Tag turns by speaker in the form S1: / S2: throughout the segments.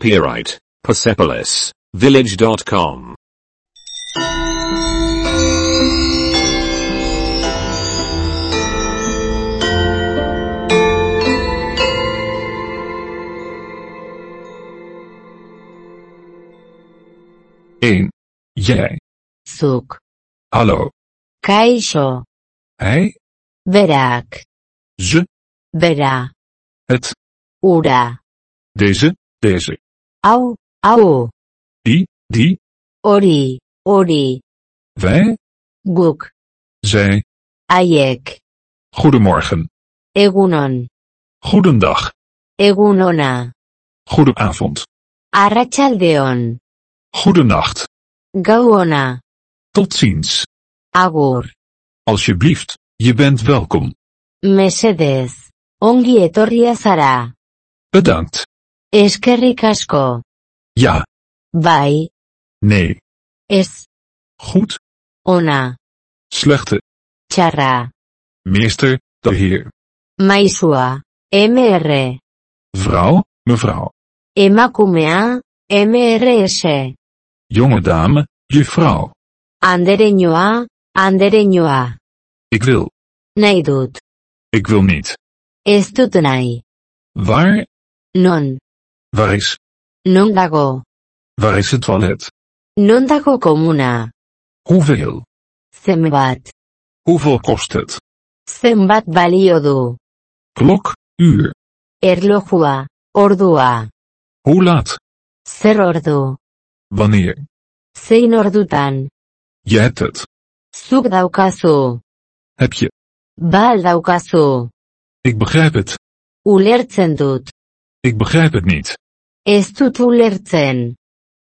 S1: Copyright Persepolis Village.com.
S2: Een. Jij.
S3: Zuk.
S2: Hallo.
S3: Kaixo.
S2: Hij.
S3: Berak.
S2: Ze.
S3: Bera.
S2: Het.
S3: Ura.
S2: Deze. Deze.
S3: Hau. Hau.
S2: Die. Die.
S3: Hori. Hori.
S2: Wij.
S3: Guk.
S2: Zij.
S3: Haiek.
S2: Goedemorgen.
S3: Egunon.
S2: Goedendag.
S3: Egunona.
S2: Goedenavond.
S3: Arratsaldeon.
S2: Goedenacht.
S3: Gauona.
S2: Tot ziens.
S3: Agur.
S2: Alsjeblieft. Je bent welkom.
S3: Mesedez. Ongi etorria zara.
S2: Bedankt.
S3: Eskerrik asko.
S2: Ja.
S3: Bai.
S2: Nee.
S3: Ez.
S2: Goed.
S3: Ona.
S2: Slechte.
S3: Txarra.
S2: Meester. De heer.
S3: Maizua. MR.
S2: Vrouw. Mevrouw.
S3: Emakumea, MRS.
S2: Jonge dame. Juffrouw.
S3: Andereñoa, andereñoa.
S2: Ik wil.
S3: Nahi dut.
S2: Ik wil niet.
S3: Ez dut nahi.
S2: Waar?
S3: Non,
S2: Waar is?
S3: non dago.
S2: Waar is het toilet?
S3: Non dago komuna.
S2: Hoeveel?
S3: Zenbat.
S2: Hoeveel kost het?
S3: Zenbat balio du.
S2: Klok, uur.
S3: Erlojua, ordua.
S2: Hoe laat?
S3: Zer ordu.
S2: Wanneer?
S3: Zein ordutan.
S2: Je hebt het.
S3: Zuk daukazu.
S2: Heb je?
S3: Bal daukazu.
S2: Ik begrijp het.
S3: Ulertzen dut.
S2: Ik begrijp het niet.
S3: Ez dut ulertzen.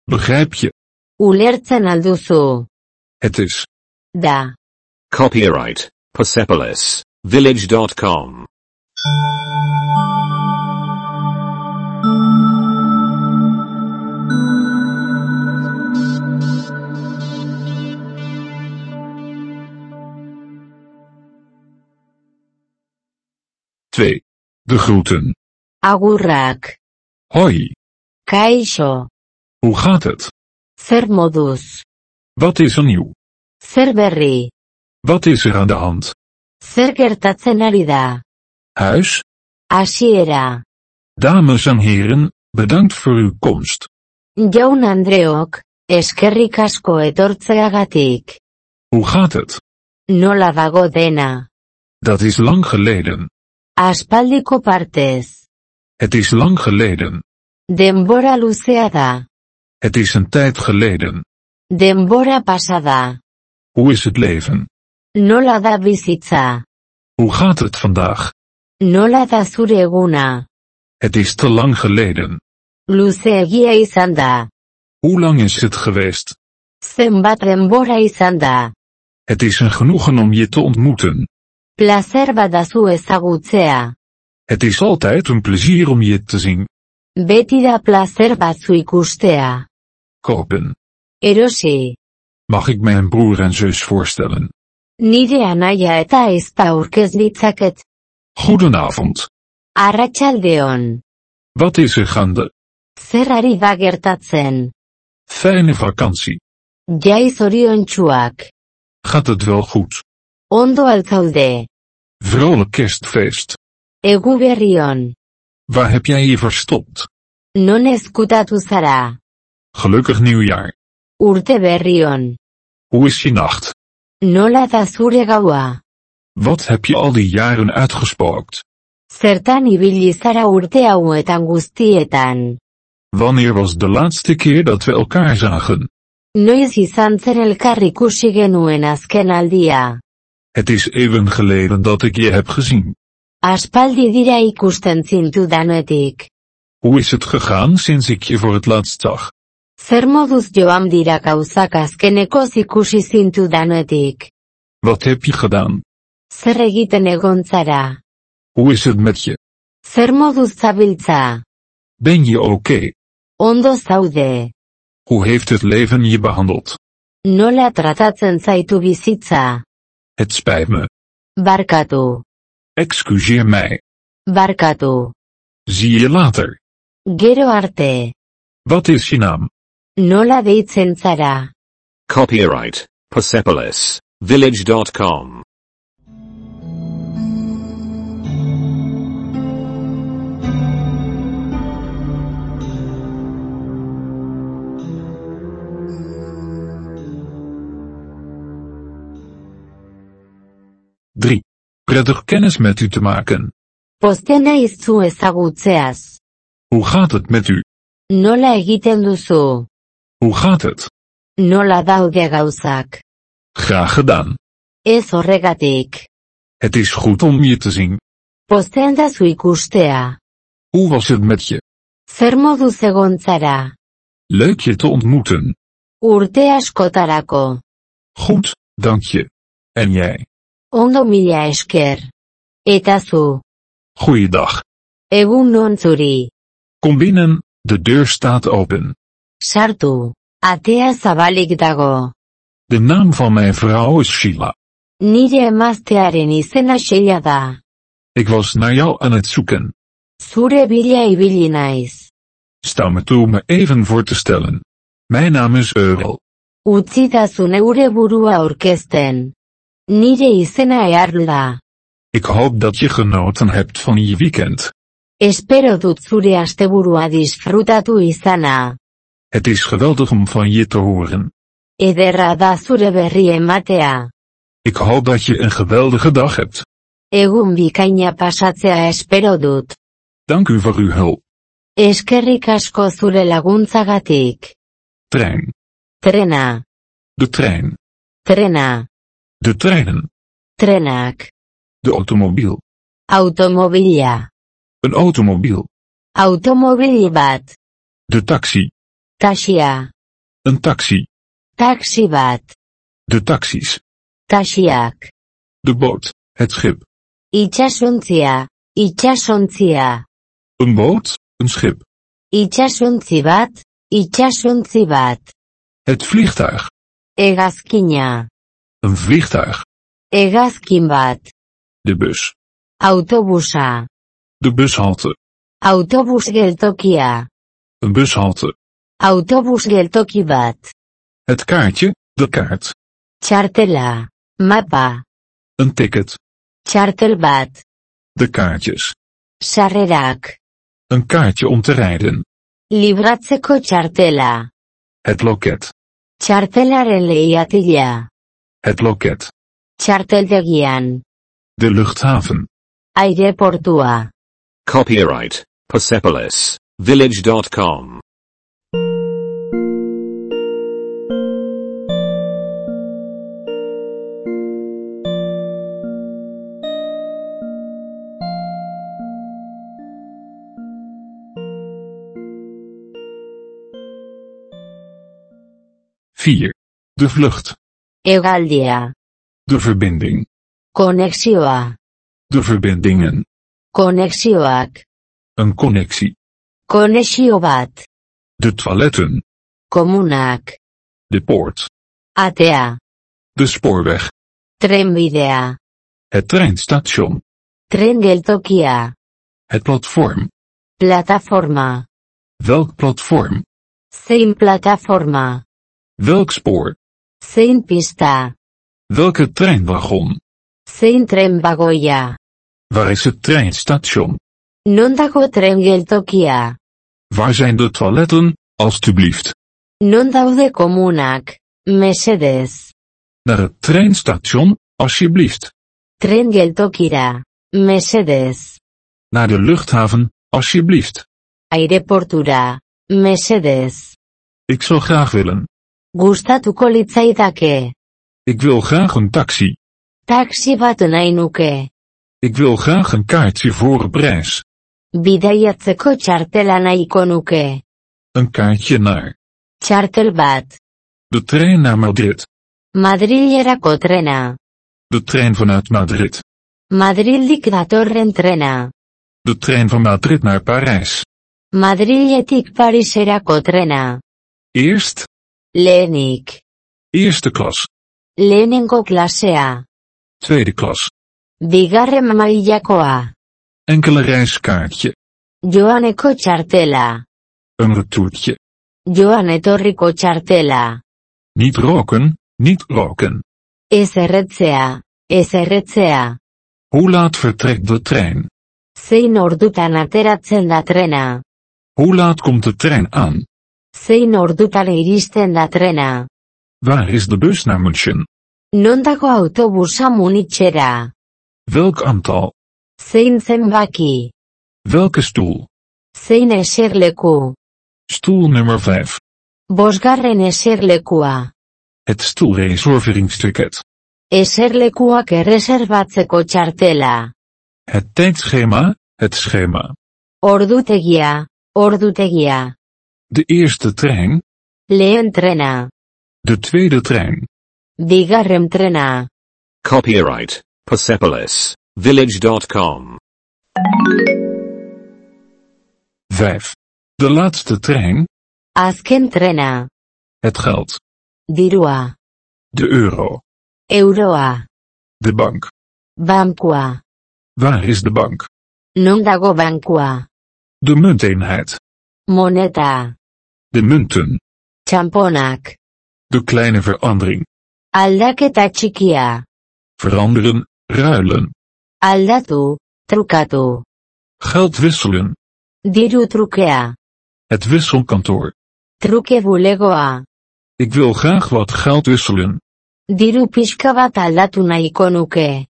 S2: Begrijp je?
S3: Ulertzen alduzu.
S2: Het is.
S3: Da.
S1: Copyright Persepolis Village.com.
S2: twee. De groeten.
S3: Agurrak.
S2: Hoi.
S3: Kaixo.
S2: Hoe gaat het?
S3: Zer moduz.
S2: Wat is er nieuw?
S3: Zer berri.
S2: Wat is er aan de hand?
S3: Zer gertatzen ari da.
S2: Huis?
S3: Hasiera.
S2: Dames en heren, bedankt voor uw komst.
S3: Jaun Andreok, eskerrik asko etortzeagatik.
S2: Hoe gaat het?
S3: Nola dago dena.
S2: Dat is lang geleden.
S3: Aspaldiko partez.
S2: Het is lang geleden.
S3: Denbora luzea da.
S2: Het is een tijd geleden.
S3: Denbora pasada.
S2: Hoe is het leven?
S3: Nola da bizitza.
S2: Hoe gaat het vandaag?
S3: Nola da zure eguna.
S2: Het is te lang geleden.
S3: Luzeegia izan da.
S2: Hoe lang is het geweest?
S3: Zenbat denbora izan da.
S2: Het is een genoegen om je te ontmoeten.
S3: Plazer badazu ezagutzea.
S2: Het is altijd een plezier om je te zien.
S3: Beti da plazer batzu ikustea.
S2: Kopen.
S3: Erosi,
S2: Mag ik mijn broer en zus voorstellen?
S3: nire anaia eta ezpa aurkez ditzaket,
S2: Goedenavond.
S3: arratsaldeon.
S2: Wat is er gaande?
S3: Zer ari da gertatzen?
S2: Fijne vakantie.
S3: Jai zoriontsuak.
S2: Gaat het wel goed?
S3: Ondo alkaude.
S2: Vrolijk kerstfeest.
S3: Egu berrion.
S2: Waar heb jij je verstopt?
S3: Non ezkutatu zara.
S2: Gelukkig nieuwjaar.
S3: Urte berrion.
S2: Hoe is je nacht?
S3: Nola da zure gaua.
S2: Wat heb je al die jaren uitgespookt?
S3: Zertan ibili zara urte hauetan guztietan.
S2: Wanneer was de laatste keer dat we elkaar zagen?
S3: Noiz izan zen elkar ikusi genuen azken aldia.
S2: Het is eeuwen geleden dat ik je heb gezien.
S3: Aspaldi dira ikusten zintu danetik.
S2: Hoe is het gegaan sinds ik je voor het laatst zag?
S3: Zer moduz joan dira gauzak azkenekoz ikusi zintu danetik.
S2: Wat heb je gedaan?
S3: Zer egiten egon zara.
S2: Hoe is het met je?
S3: Zer moduz zabiltza.
S2: Ben je oké?
S3: Ondo zaude.
S2: Hoe heeft het leven je behandeld?
S3: Nola tratatzen zaitu bizitza.
S2: Het spijt me.
S3: Barkatu.
S2: Excuseer mij.
S3: Barkatu.
S2: Zie je later.
S3: Gero arte.
S2: Wat is je naam?
S3: Nola deitzen zara?
S1: Copyright Persepolis Village.com.
S2: Drie. Prettig kennis met u te maken.
S3: Pozten naiz zu ezagutzeaz.
S2: Hoe gaat het met u?
S3: Nola egiten duzu?
S2: Hoe gaat het?
S3: Nola daude gauzak?
S2: Graag gedaan.
S3: Ez horregatik.
S2: Het is goed om je te zien.
S3: Pozten da zu ikustea.
S2: Hoe was het met je?
S3: Zer moduz egon zara?
S2: Leuk je te ontmoeten.
S3: Urte askotarako.
S2: Goed, dank je. En jij?
S3: Ondo mila esker. Eta zu,
S2: Goeiedag.
S3: egun non zuri,
S2: Kom binnen, de deur staat open.
S3: sartu, atea zabalik dago.
S2: De naam van mijn vrouw is Sheila.
S3: Nire emaztearen izena xeia da.
S2: Ik was naar jou aan het zoeken.
S3: Zure bila ibili naiz.
S2: Sta me toe me even voor te stellen. Mijn naam is Earl.
S3: Utzi da zu neure burua aurkezten. Nire izena earl da.
S2: Ik hoop dat je genoten hebt van je weekend.
S3: Espero dut zure asteburua disfrutatu izana.
S2: Het is geweldig om van je te horen.
S3: Ederra da zure berri ematea.
S2: Ik hoop dat je een geweldige dag hebt.
S3: Egun bikaina pasatzea espero dut.
S2: Dank u voor uw hulp.
S3: Eskerrik asko zure laguntzagatik.
S2: Trein.
S3: Trena,
S2: De trein.
S3: trena,
S2: De treinen.
S3: trenak,
S2: De automobiel.
S3: automobila,
S2: Een automobiel.
S3: automobili bat,
S2: De taxi.
S3: taxia,
S2: Een taxi.
S3: taxi bat,
S2: De taxis.
S3: taxiak,
S2: De boot. Het schip.
S3: itxasontzia, itxasontzia,
S2: Een boot. Een schip.
S3: itxasontzi bat, itxasontzi bat,
S2: Het vliegtuig.
S3: hegazkina,
S2: Een vliegtuig.
S3: hegazkin bat,
S2: De bus.
S3: autobusa,
S2: De bushalte.
S3: autobus geltokia,
S2: Een bushalte.
S3: autobus geltoki bat,
S2: Het kaartje. De kaart.
S3: txartela, mapa,
S2: Een ticket.
S3: txartel bat,
S2: De kaartjes.
S3: sarrerak.
S2: Een kaartje om te rijden.
S3: Libratzeko txartela.
S2: Het loket.
S3: Txartelaren lehiatila.
S2: Het loket.
S3: Txarteldegian.
S2: De luchthaven.
S3: Aireportua.
S1: Copyright Persepolis Village.com.
S2: Vier. De vlucht.
S3: Hegaldia.
S2: De verbinding.
S3: Konexioa.
S2: De verbindingen.
S3: Konexioak.
S2: Een connectie.
S3: Konexio bat.
S2: De toiletten.
S3: Komunak.
S2: De poort.
S3: Atea.
S2: De spoorweg.
S3: Trenbidea.
S2: Het treinstation.
S3: Tren geltokia.
S2: Het platform.
S3: Plataforma.
S2: Welk platform?
S3: Zein plataforma.
S2: Welk spoor?
S3: Zein pista.
S2: Welke treinwagon?
S3: Zein tren bagoia.
S2: Waar is het treinstation?
S3: Non dago tren geltokia.
S2: Waar zijn de toiletten, alstublieft?
S3: Non daude komunak. Mesedez.
S2: Naar het treinstation, alsjeblieft.
S3: Tren geltokira. Mesedez.
S2: Naar de luchthaven, alsjeblieft.
S3: Aireportura. Mesedez.
S2: Ik zou graag willen.
S3: Gustatuko litzaidake.
S2: Ik wil graag een taxi.
S3: Taxi bat nahi nuke.
S2: Ik wil graag een kaartje voor een prijs.
S3: Bidaiatzeko txartela nahiko nuke.
S2: Een kaartje naar
S3: Txartel bat.
S2: de trein naar Madrid.
S3: Madrilerako trena.
S2: De trein vanuit Madrid.
S3: Madrildik datorren trena.
S2: De trein van Madrid naar Parijs.
S3: Madriletik Pariserako trena.
S2: Eerst,
S3: Lehenik.
S2: eerste klas,
S3: Lehenengo klasea.
S2: tweede klas.
S3: Bigarren mailakoa.
S2: Enkele reiskaartje.
S3: Joaneko txartela.
S2: Een retourtje.
S3: Joan etorriko txartela.
S2: Niet roken, niet roken.
S3: Ez erretzea, ez erretzea.
S2: Hoe laat vertrekt de trein?
S3: Zein ordutan ateratzen da trena.
S2: Hoe laat komt de trein aan?
S3: Zein ordutan iristen da trena.
S2: Waar is de bus naar München?
S3: Non dago autobusa munitxera.
S2: Welk aantal?
S3: Zein zenbaki.
S2: Welke stoel?
S3: Zein eserleku.
S2: Stoel nummer 5.
S3: Bosgarren eserlekua.
S2: Het stoelreserveringsticket.
S3: Eserlekuak erreserbatzeko txartela.
S2: Het tijdschema, het schema.
S3: Ordutegia, ordutegia.
S2: De eerste trein,
S3: Lehen trena.
S2: de tweede trein.
S3: Bigarren trena.
S1: Copyright Persepolis Village.com.
S2: 5. De laatste trein,
S3: Azken trena.
S2: het geld.
S3: Dirua.
S2: De euro.
S3: Euroa.
S2: De bank.
S3: Bankua.
S2: Waar is de bank?
S3: Non dago bankua.
S2: De munteenheid.
S3: Moneta.
S2: De munten.
S3: Txamponak.
S2: De kleine verandering.
S3: Aldaketa txikia.
S2: Veranderen, ruilen.
S3: Aldatu, trukatu.
S2: Geld wisselen.
S3: Diru trukea.
S2: Het wisselkantoor.
S3: Truke bulegoa.
S2: Ik wil graag wat geld wisselen.
S3: Diru pixka bat aldatu nahiko nuke.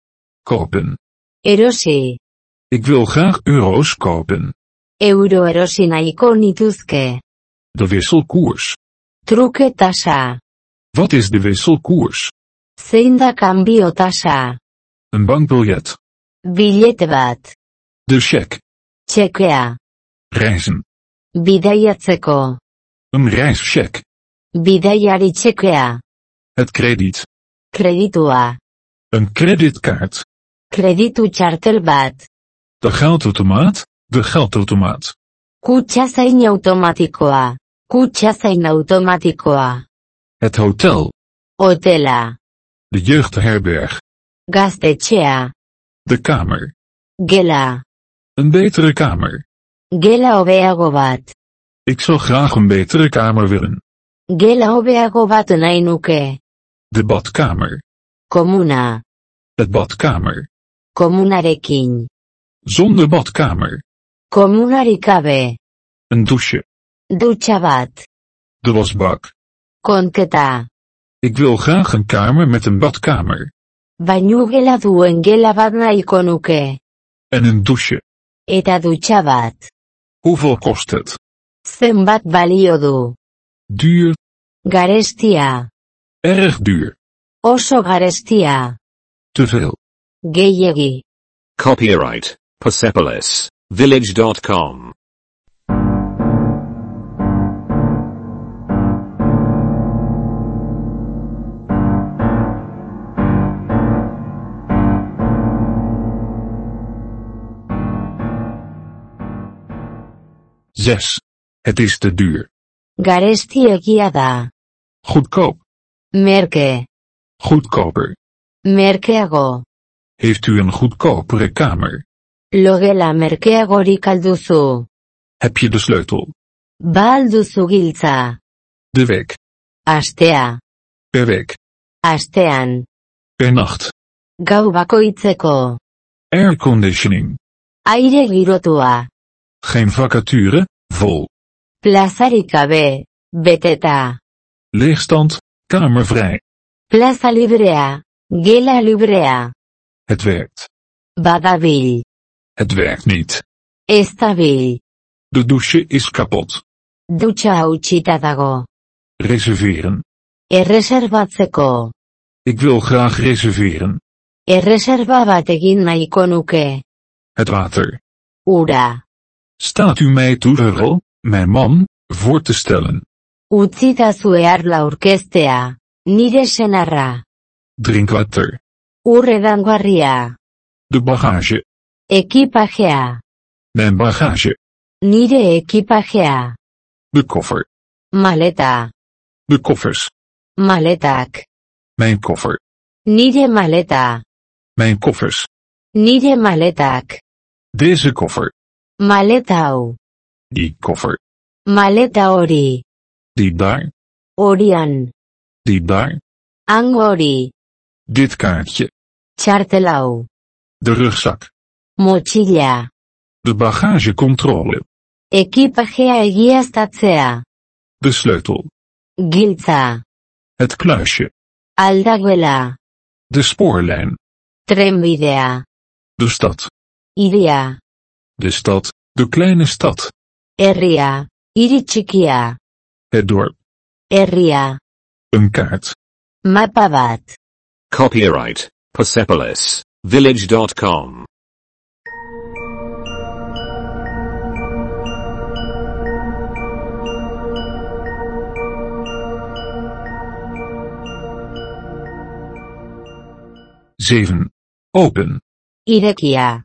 S2: Kopen.
S3: Erosi.
S2: Ik wil graag euro's kopen.
S3: Euro erosi nahiko nituzke.
S2: De wisselkoers.
S3: Truke tasa.
S2: Wat is de wisselkoers?
S3: Zein da kanbio tasa.
S2: Een bankbiljet.
S3: Bilete bat.
S2: De cheque.
S3: Txekea.
S2: Reizen.
S3: Bidaiatzeko.
S2: Een reischeque.
S3: Bidaiari txekea.
S2: Het krediet.
S3: Kreditua.
S2: Een creditkaart.
S3: Kreditu txartel bat.
S2: De geldautomaat. De geldautomaat.
S3: Kutsa zain automatikoa. Kutsa zain automatikoa.
S2: Het hotel.
S3: Hotela.
S2: De jeugdherberg.
S3: Gaztetxea.
S2: De kamer.
S3: Gela.
S2: Een betere kamer.
S3: Gela hobeago bat.
S2: Ik zou graag een betere kamer willen.
S3: Gela hobeago bat nahi nuke.
S2: De badkamer.
S3: Komuna.
S2: Het badkamer.
S3: Komunarekin.
S2: Zonder badkamer.
S3: Komunarik gabe.
S2: Een douche.
S3: Dutxa bat.
S2: De wasbak.
S3: Konketa.
S2: Ik wil graag een kamer met een badkamer.
S3: Bainu gela duen gela bat nahiko nuke.
S2: En een douche.
S3: Eta dutxa bat.
S2: Hoeveel kost het?
S3: Zenbat balio du.
S2: Duur.
S3: Garestia.
S2: Erg duur.
S3: Oso garestia.
S2: Te veel.
S3: Gehiegi.
S1: Copyright Persepolis Village.com.
S2: Zes. Het is te duur.
S3: Garesti egia da.
S2: Goedkoop.
S3: Merke.
S2: Goedkoper.
S3: Merkeago.
S2: Heeft u een goedkopere kamer?
S3: Logela merkeagorik alduzu.
S2: Heb je de sleutel?
S3: Ba alduzu giltza.
S2: De week.
S3: Astea.
S2: Per week.
S3: Astean.
S2: Per nacht.
S3: Gau bakoitzeko.
S2: Airconditioning.
S3: Aire girotua.
S2: Geen vacature, vol.
S3: Plazarik gabe. Beteta.
S2: Leegstand, kamervrij.
S3: Plaza librea. Gela librea.
S2: Het werkt.
S3: Badabil.
S2: Het werkt niet.
S3: Ez dabil.
S2: De douche is kapot.
S3: Dutxa hautsita dago.
S2: Reserveren.
S3: Erreserbatzeko.
S2: Ik wil graag reserveren.
S3: Erreserba bat egin nahiko nuke.
S2: Het water.
S3: Ura.
S2: Staat u mij toe, Rurel, mijn man, voor te stellen.
S3: Utzi da zuearla aurkeztea, nire senarra,
S2: Drinkwater.
S3: urredangarria,
S2: De bagage.
S3: ekipajea,
S2: Mijn bagage.
S3: nire ekipajea,
S2: De koffer.
S3: maleta,
S2: De koffers.
S3: maletak,
S2: Mijn koffer.
S3: nire maleta,
S2: Mijn koffers.
S3: nire maletak,
S2: Deze koffer.
S3: maleta hau,
S2: Die koffer.
S3: maleta hori,
S2: Die daar,
S3: Horian.
S2: die daar,
S3: Hango hori.
S2: dit kaartje,
S3: Txartel hau.
S2: de rugzak,
S3: Motxila.
S2: de bagagecontrole,
S3: Ekipajea egiaztatzea.
S2: de sleutel,
S3: Giltza.
S2: het kluisje,
S3: Aldagela.
S2: de spoorlijn,
S3: Trenbidea.
S2: de stad,
S3: Iria.
S2: de stad, de kleine stad,
S3: Herria. Hiri txikia.
S2: het dorp,
S3: Herria.
S2: een kaart,
S3: Mapa bat.
S1: Copyright Persepolis Village.com.
S2: zeven, open,
S3: Irekia.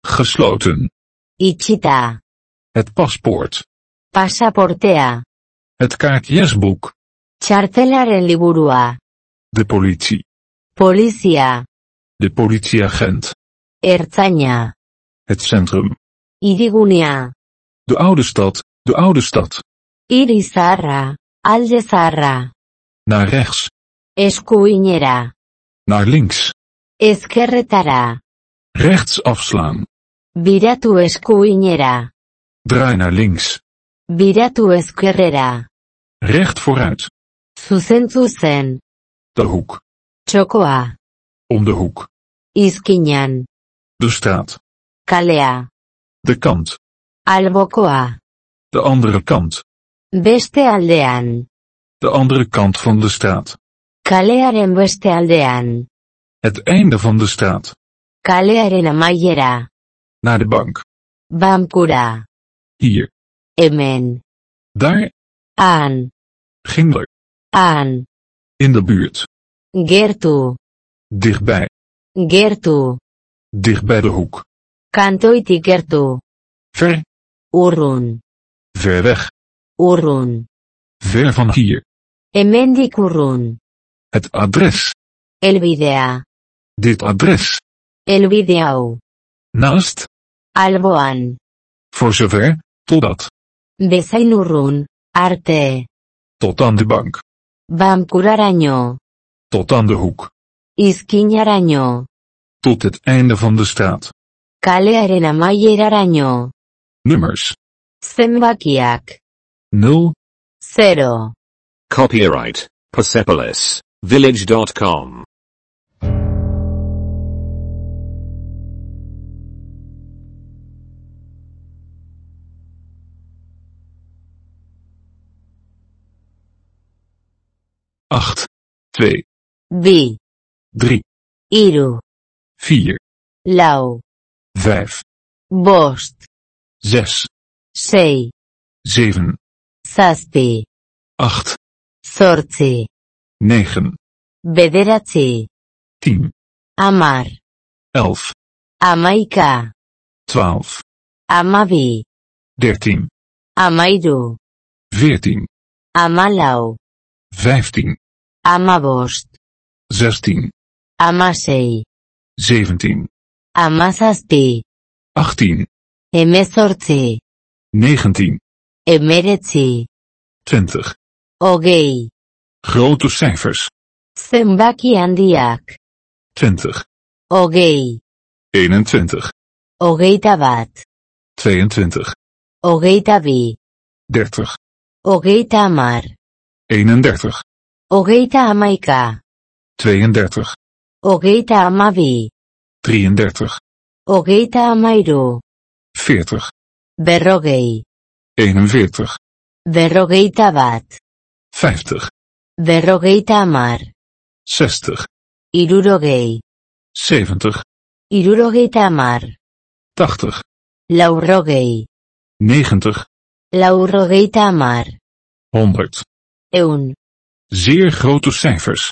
S2: gesloten,
S3: Itxita.
S2: het paspoort,
S3: Pasaportea.
S2: het kaartjesboek,
S3: Txartelaren liburua.
S2: de politie,
S3: Polizia.
S2: de politieagent,
S3: Ertzaina.
S2: het centrum,
S3: Irigunea.
S2: de oude stad, de oude stad,
S3: Hiri zaharra. Alde zaharra.
S2: naar rechts,
S3: Eskuinera.
S2: naar links,
S3: Ezkerretara.
S2: rechts afslaan,
S3: Biratu eskuinera.
S2: draai naar links,
S3: Biratu ezkerrera.
S2: recht vooruit,
S3: Zuzentzu zen.
S2: de hoek,
S3: Txokoa.
S2: om de hoek,
S3: Izkinan.
S2: de straat,
S3: Kalea.
S2: de kant,
S3: Albokoa.
S2: de andere kant,
S3: Beste aldean.
S2: de andere kant van de straat,
S3: Kalearen beste aldean.
S2: het einde van de straat,
S3: Kalearen amaiera.
S2: naar de bank,
S3: Bankura.
S2: hier,
S3: Hemen.
S2: daar,
S3: Han.
S2: ging er,
S3: Han.
S2: in de buurt,
S3: Gertu.
S2: dichtbij,
S3: Gertu.
S2: dichtbij de hoek,
S3: Kantoitik gertu.
S2: ver,
S3: Urrun.
S2: ver weg,
S3: Urrun.
S2: ver van hier,
S3: Hemendik urrun.
S2: het adres,
S3: Elbidea.
S2: dit adres,
S3: Elbide hau.
S2: naast,
S3: Alboan.
S2: voor zover, totdat,
S3: Bezain urrun. Arte.
S2: tot aan de bank,
S3: Bankuraraino.
S2: tot aan de hoek,
S3: Izkinaraino.
S2: tot het einde van de straat,
S3: Kalearen amaieraraino.
S2: nummers,
S3: Zenbakiak.
S2: 0,
S3: Zero.
S1: Copyright Persepolis Village.com.
S2: acht, twee,
S3: Bi.
S2: drie,
S3: Iru.
S2: vier,
S3: Lau.
S2: vijf,
S3: Bost.
S2: zes,
S3: Sei.
S2: zeven,
S3: Zazpi.
S2: acht,
S3: Zortzi.
S2: negen,
S3: Bederatzi.
S2: tien,
S3: Amar.
S2: elf,
S3: Amaika.
S2: twaalf,
S3: Amabi.
S2: dertien,
S3: Amairu.
S2: veertien,
S3: Amalau.
S2: vijftien,
S3: Amabost.
S2: zestien,
S3: Amasei.
S2: zeventien,
S3: Amazazpi.
S2: achttien,
S3: Hemezortzi.
S2: negentien,
S3: Hemeretzi.
S2: twintig,
S3: Hogei.
S2: grote cijfers,
S3: Zenbaki handiak.
S2: twintig,
S3: Hogei.
S2: eenentwintig,
S3: Hogeita bat.
S2: tweeëntwintig,
S3: Hogeita bi.
S2: dertig,
S3: Hogeita amar.
S2: eenendertig,
S3: Hogeita amaika.
S2: tweeëndertig,
S3: Hogeita amabi.
S2: drieëndertig,
S3: Hogeita amairu.
S2: veertig,
S3: Berrogei.
S2: eenenveertig,
S3: Berrogeita bat.
S2: vijftig,
S3: Berrogeita amar.
S2: zestig,
S3: Irurogei.
S2: zeventig,
S3: Irurogeita amar.
S2: tachtig,
S3: Laurrogei.
S2: negentig,
S3: Laurrogeita amar.
S2: honderd.
S3: Eun.
S2: Zeer grote cijfers.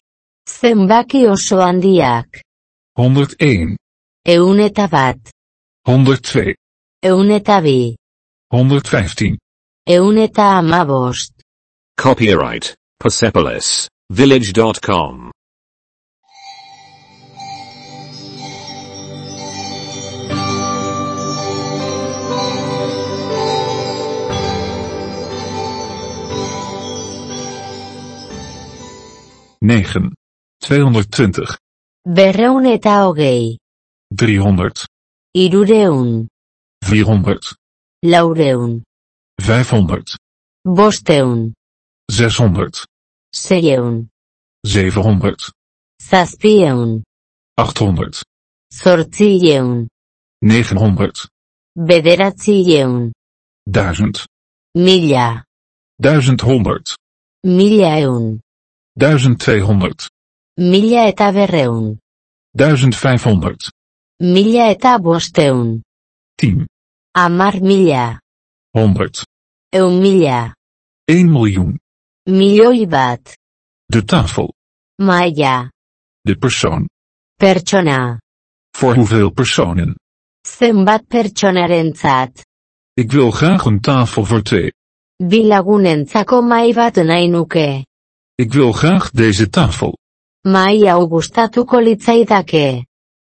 S3: Zenbaki oso handiak.
S2: 101,
S3: Eun eta bat.
S2: 102,
S3: Eun eta bi.
S2: 115,
S3: Eun eta amabost.
S1: Copyright Persepolis Village.com.
S2: 9. 220.
S3: berreun eta hogei,
S2: 300.
S3: irureun,
S2: 400.
S3: laureun,
S2: 500.
S3: bosteun,
S2: 600.
S3: seieun,
S2: 700.
S3: zazpieun,
S2: 800.
S3: zortzieun,
S2: 900.
S3: bederatzieun,
S2: 1000.
S3: mila,
S2: 1100.
S3: mila eun,
S2: 1200.
S3: mila eta berreun,
S2: 1500.
S3: mila eta bosteun,
S2: 10.
S3: amar mila,
S2: 100.
S3: eun mila,
S2: 1 miljoen.
S3: milioi bat,
S2: De tafel.
S3: maila,
S2: De persoon.
S3: pertsona,
S2: Voor hoeveel personen?
S3: zenbat pertsonarentzat,
S2: Ik wil graag een tafel voor twee.
S3: bi lagunentzako mai bat nahi nuke,
S2: Ik wil graag deze tafel.
S3: mai hau gustatuko litzaidake,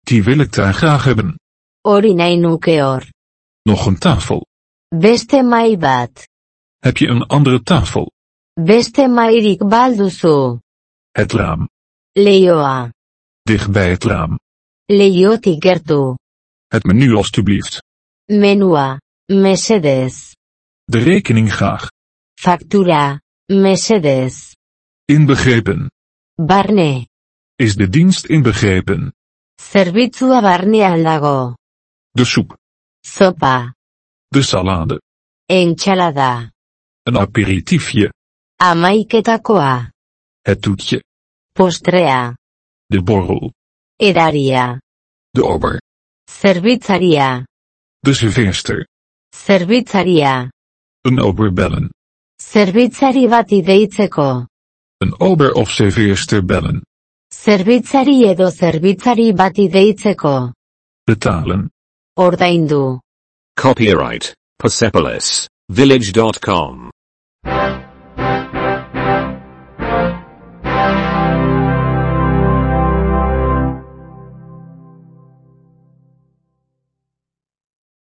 S2: Die wil ik daar graag hebben.
S3: hori nahi nuke hor,
S2: Nog een tafel.
S3: beste mai bat,
S2: Heb je een andere tafel?
S3: beste mairik balduzu,
S2: Het raam.
S3: leioa,
S2: Dicht bij het raam.
S3: leiotik gertu,
S2: Het menu alstublieft.
S3: menua, mesedez,
S2: De rekening graag.
S3: faktura, mesedez,
S2: Inbegrepen.
S3: barne,
S2: Is de dienst inbegrepen?
S3: zerbitzua barnean dago,
S2: De soep.
S3: zopa,
S2: De salade.
S3: entxalada,
S2: Een aperitiefje.
S3: amaiketakoa,
S2: Het toetje.
S3: postrea,
S2: De borrel.
S3: edaria,
S2: De ober.
S3: zerbitzaria,
S2: De serveerster.
S3: zerbitzaria,
S2: Een ober bellen.
S3: zerbitzari bat ideitzeko,
S2: Een ober of serveerster bellen.
S3: zerbitzari edo zerbitzari bat ideitzeko,
S2: Betalen.
S3: ordaindu.
S1: Copyright Persepolis Village.com.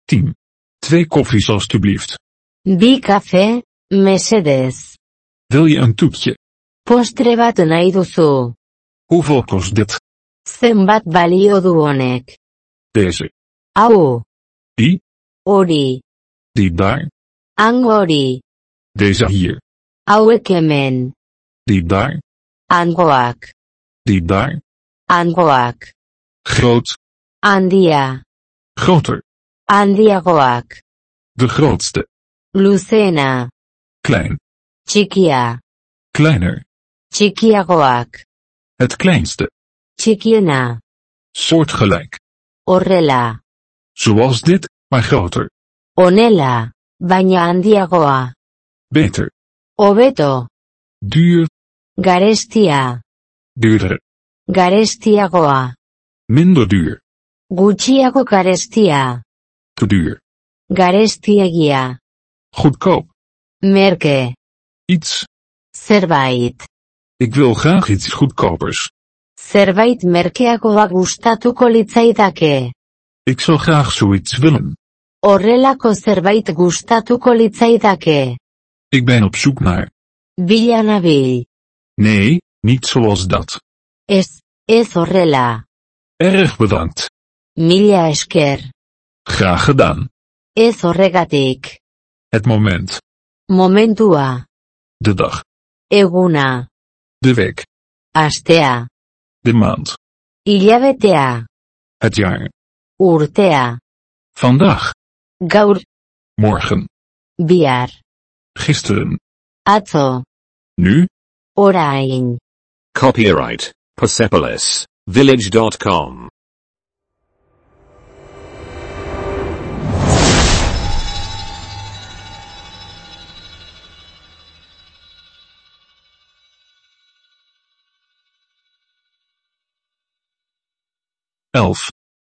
S2: Tien. Twee koffies alstublieft.
S3: Bi kafe, mesedez.
S2: Wil je een toetje?
S3: Postre bat nahi duzu.
S2: Hoeveel kost dit?
S3: Zenbat balio du honek.
S2: Deze.
S3: Hau,
S2: Die?
S3: hori,
S2: Die daar.
S3: hango hori,
S2: Deze hier.
S3: hauek hemen,
S2: Die daar.
S3: hangoak,
S2: Die daar.
S3: hangoak,
S2: Groot.
S3: handia,
S2: Groter.
S3: handiagoak,
S2: De grootste.
S3: luzeena,
S2: Klein.
S3: txikia,
S2: Kleiner.
S3: txikiagoak,
S2: Het kleinste.
S3: txikiena,
S2: Soortgelijk.
S3: horrela,
S2: Zoals dit, maar groter.
S3: onela, baina handiagoa,
S2: Beter.
S3: hobeto,
S2: Duur.
S3: garestia,
S2: Duurder.
S3: garestiagoa,
S2: Minder duur.
S3: gutxiago garestia,
S2: Te duur.
S3: garestiegia,
S2: Goedkoop.
S3: merke,
S2: Iets.
S3: zerbait,
S2: Ik wil graag iets goedkopers.
S3: zerbait merkeagoa gustatuko litzaidake,
S2: Ik zou graag zoiets willen.
S3: horrelako zerbait gustatuko litzaidake,
S2: Ik ben op zoek naar.
S3: bila nabil,
S2: Nee, niet zoals dat.
S3: ez, ez horrela,
S2: Erg bedankt.
S3: mila esker,
S2: Graag gedaan.
S3: ez horregatik,
S2: Het moment.
S3: momentua,
S2: De dag.
S3: eguna,
S2: De week.
S3: astea,
S2: De maand.
S3: hilabetea,
S2: Het jaar.
S3: urtea,
S2: Vandaag.
S3: gaur,
S2: Morgen.
S3: bihar,
S2: Gisteren.
S3: atzo,
S2: Nu.
S3: orain.
S1: Copyright Persepolis Village.com.
S2: Elf.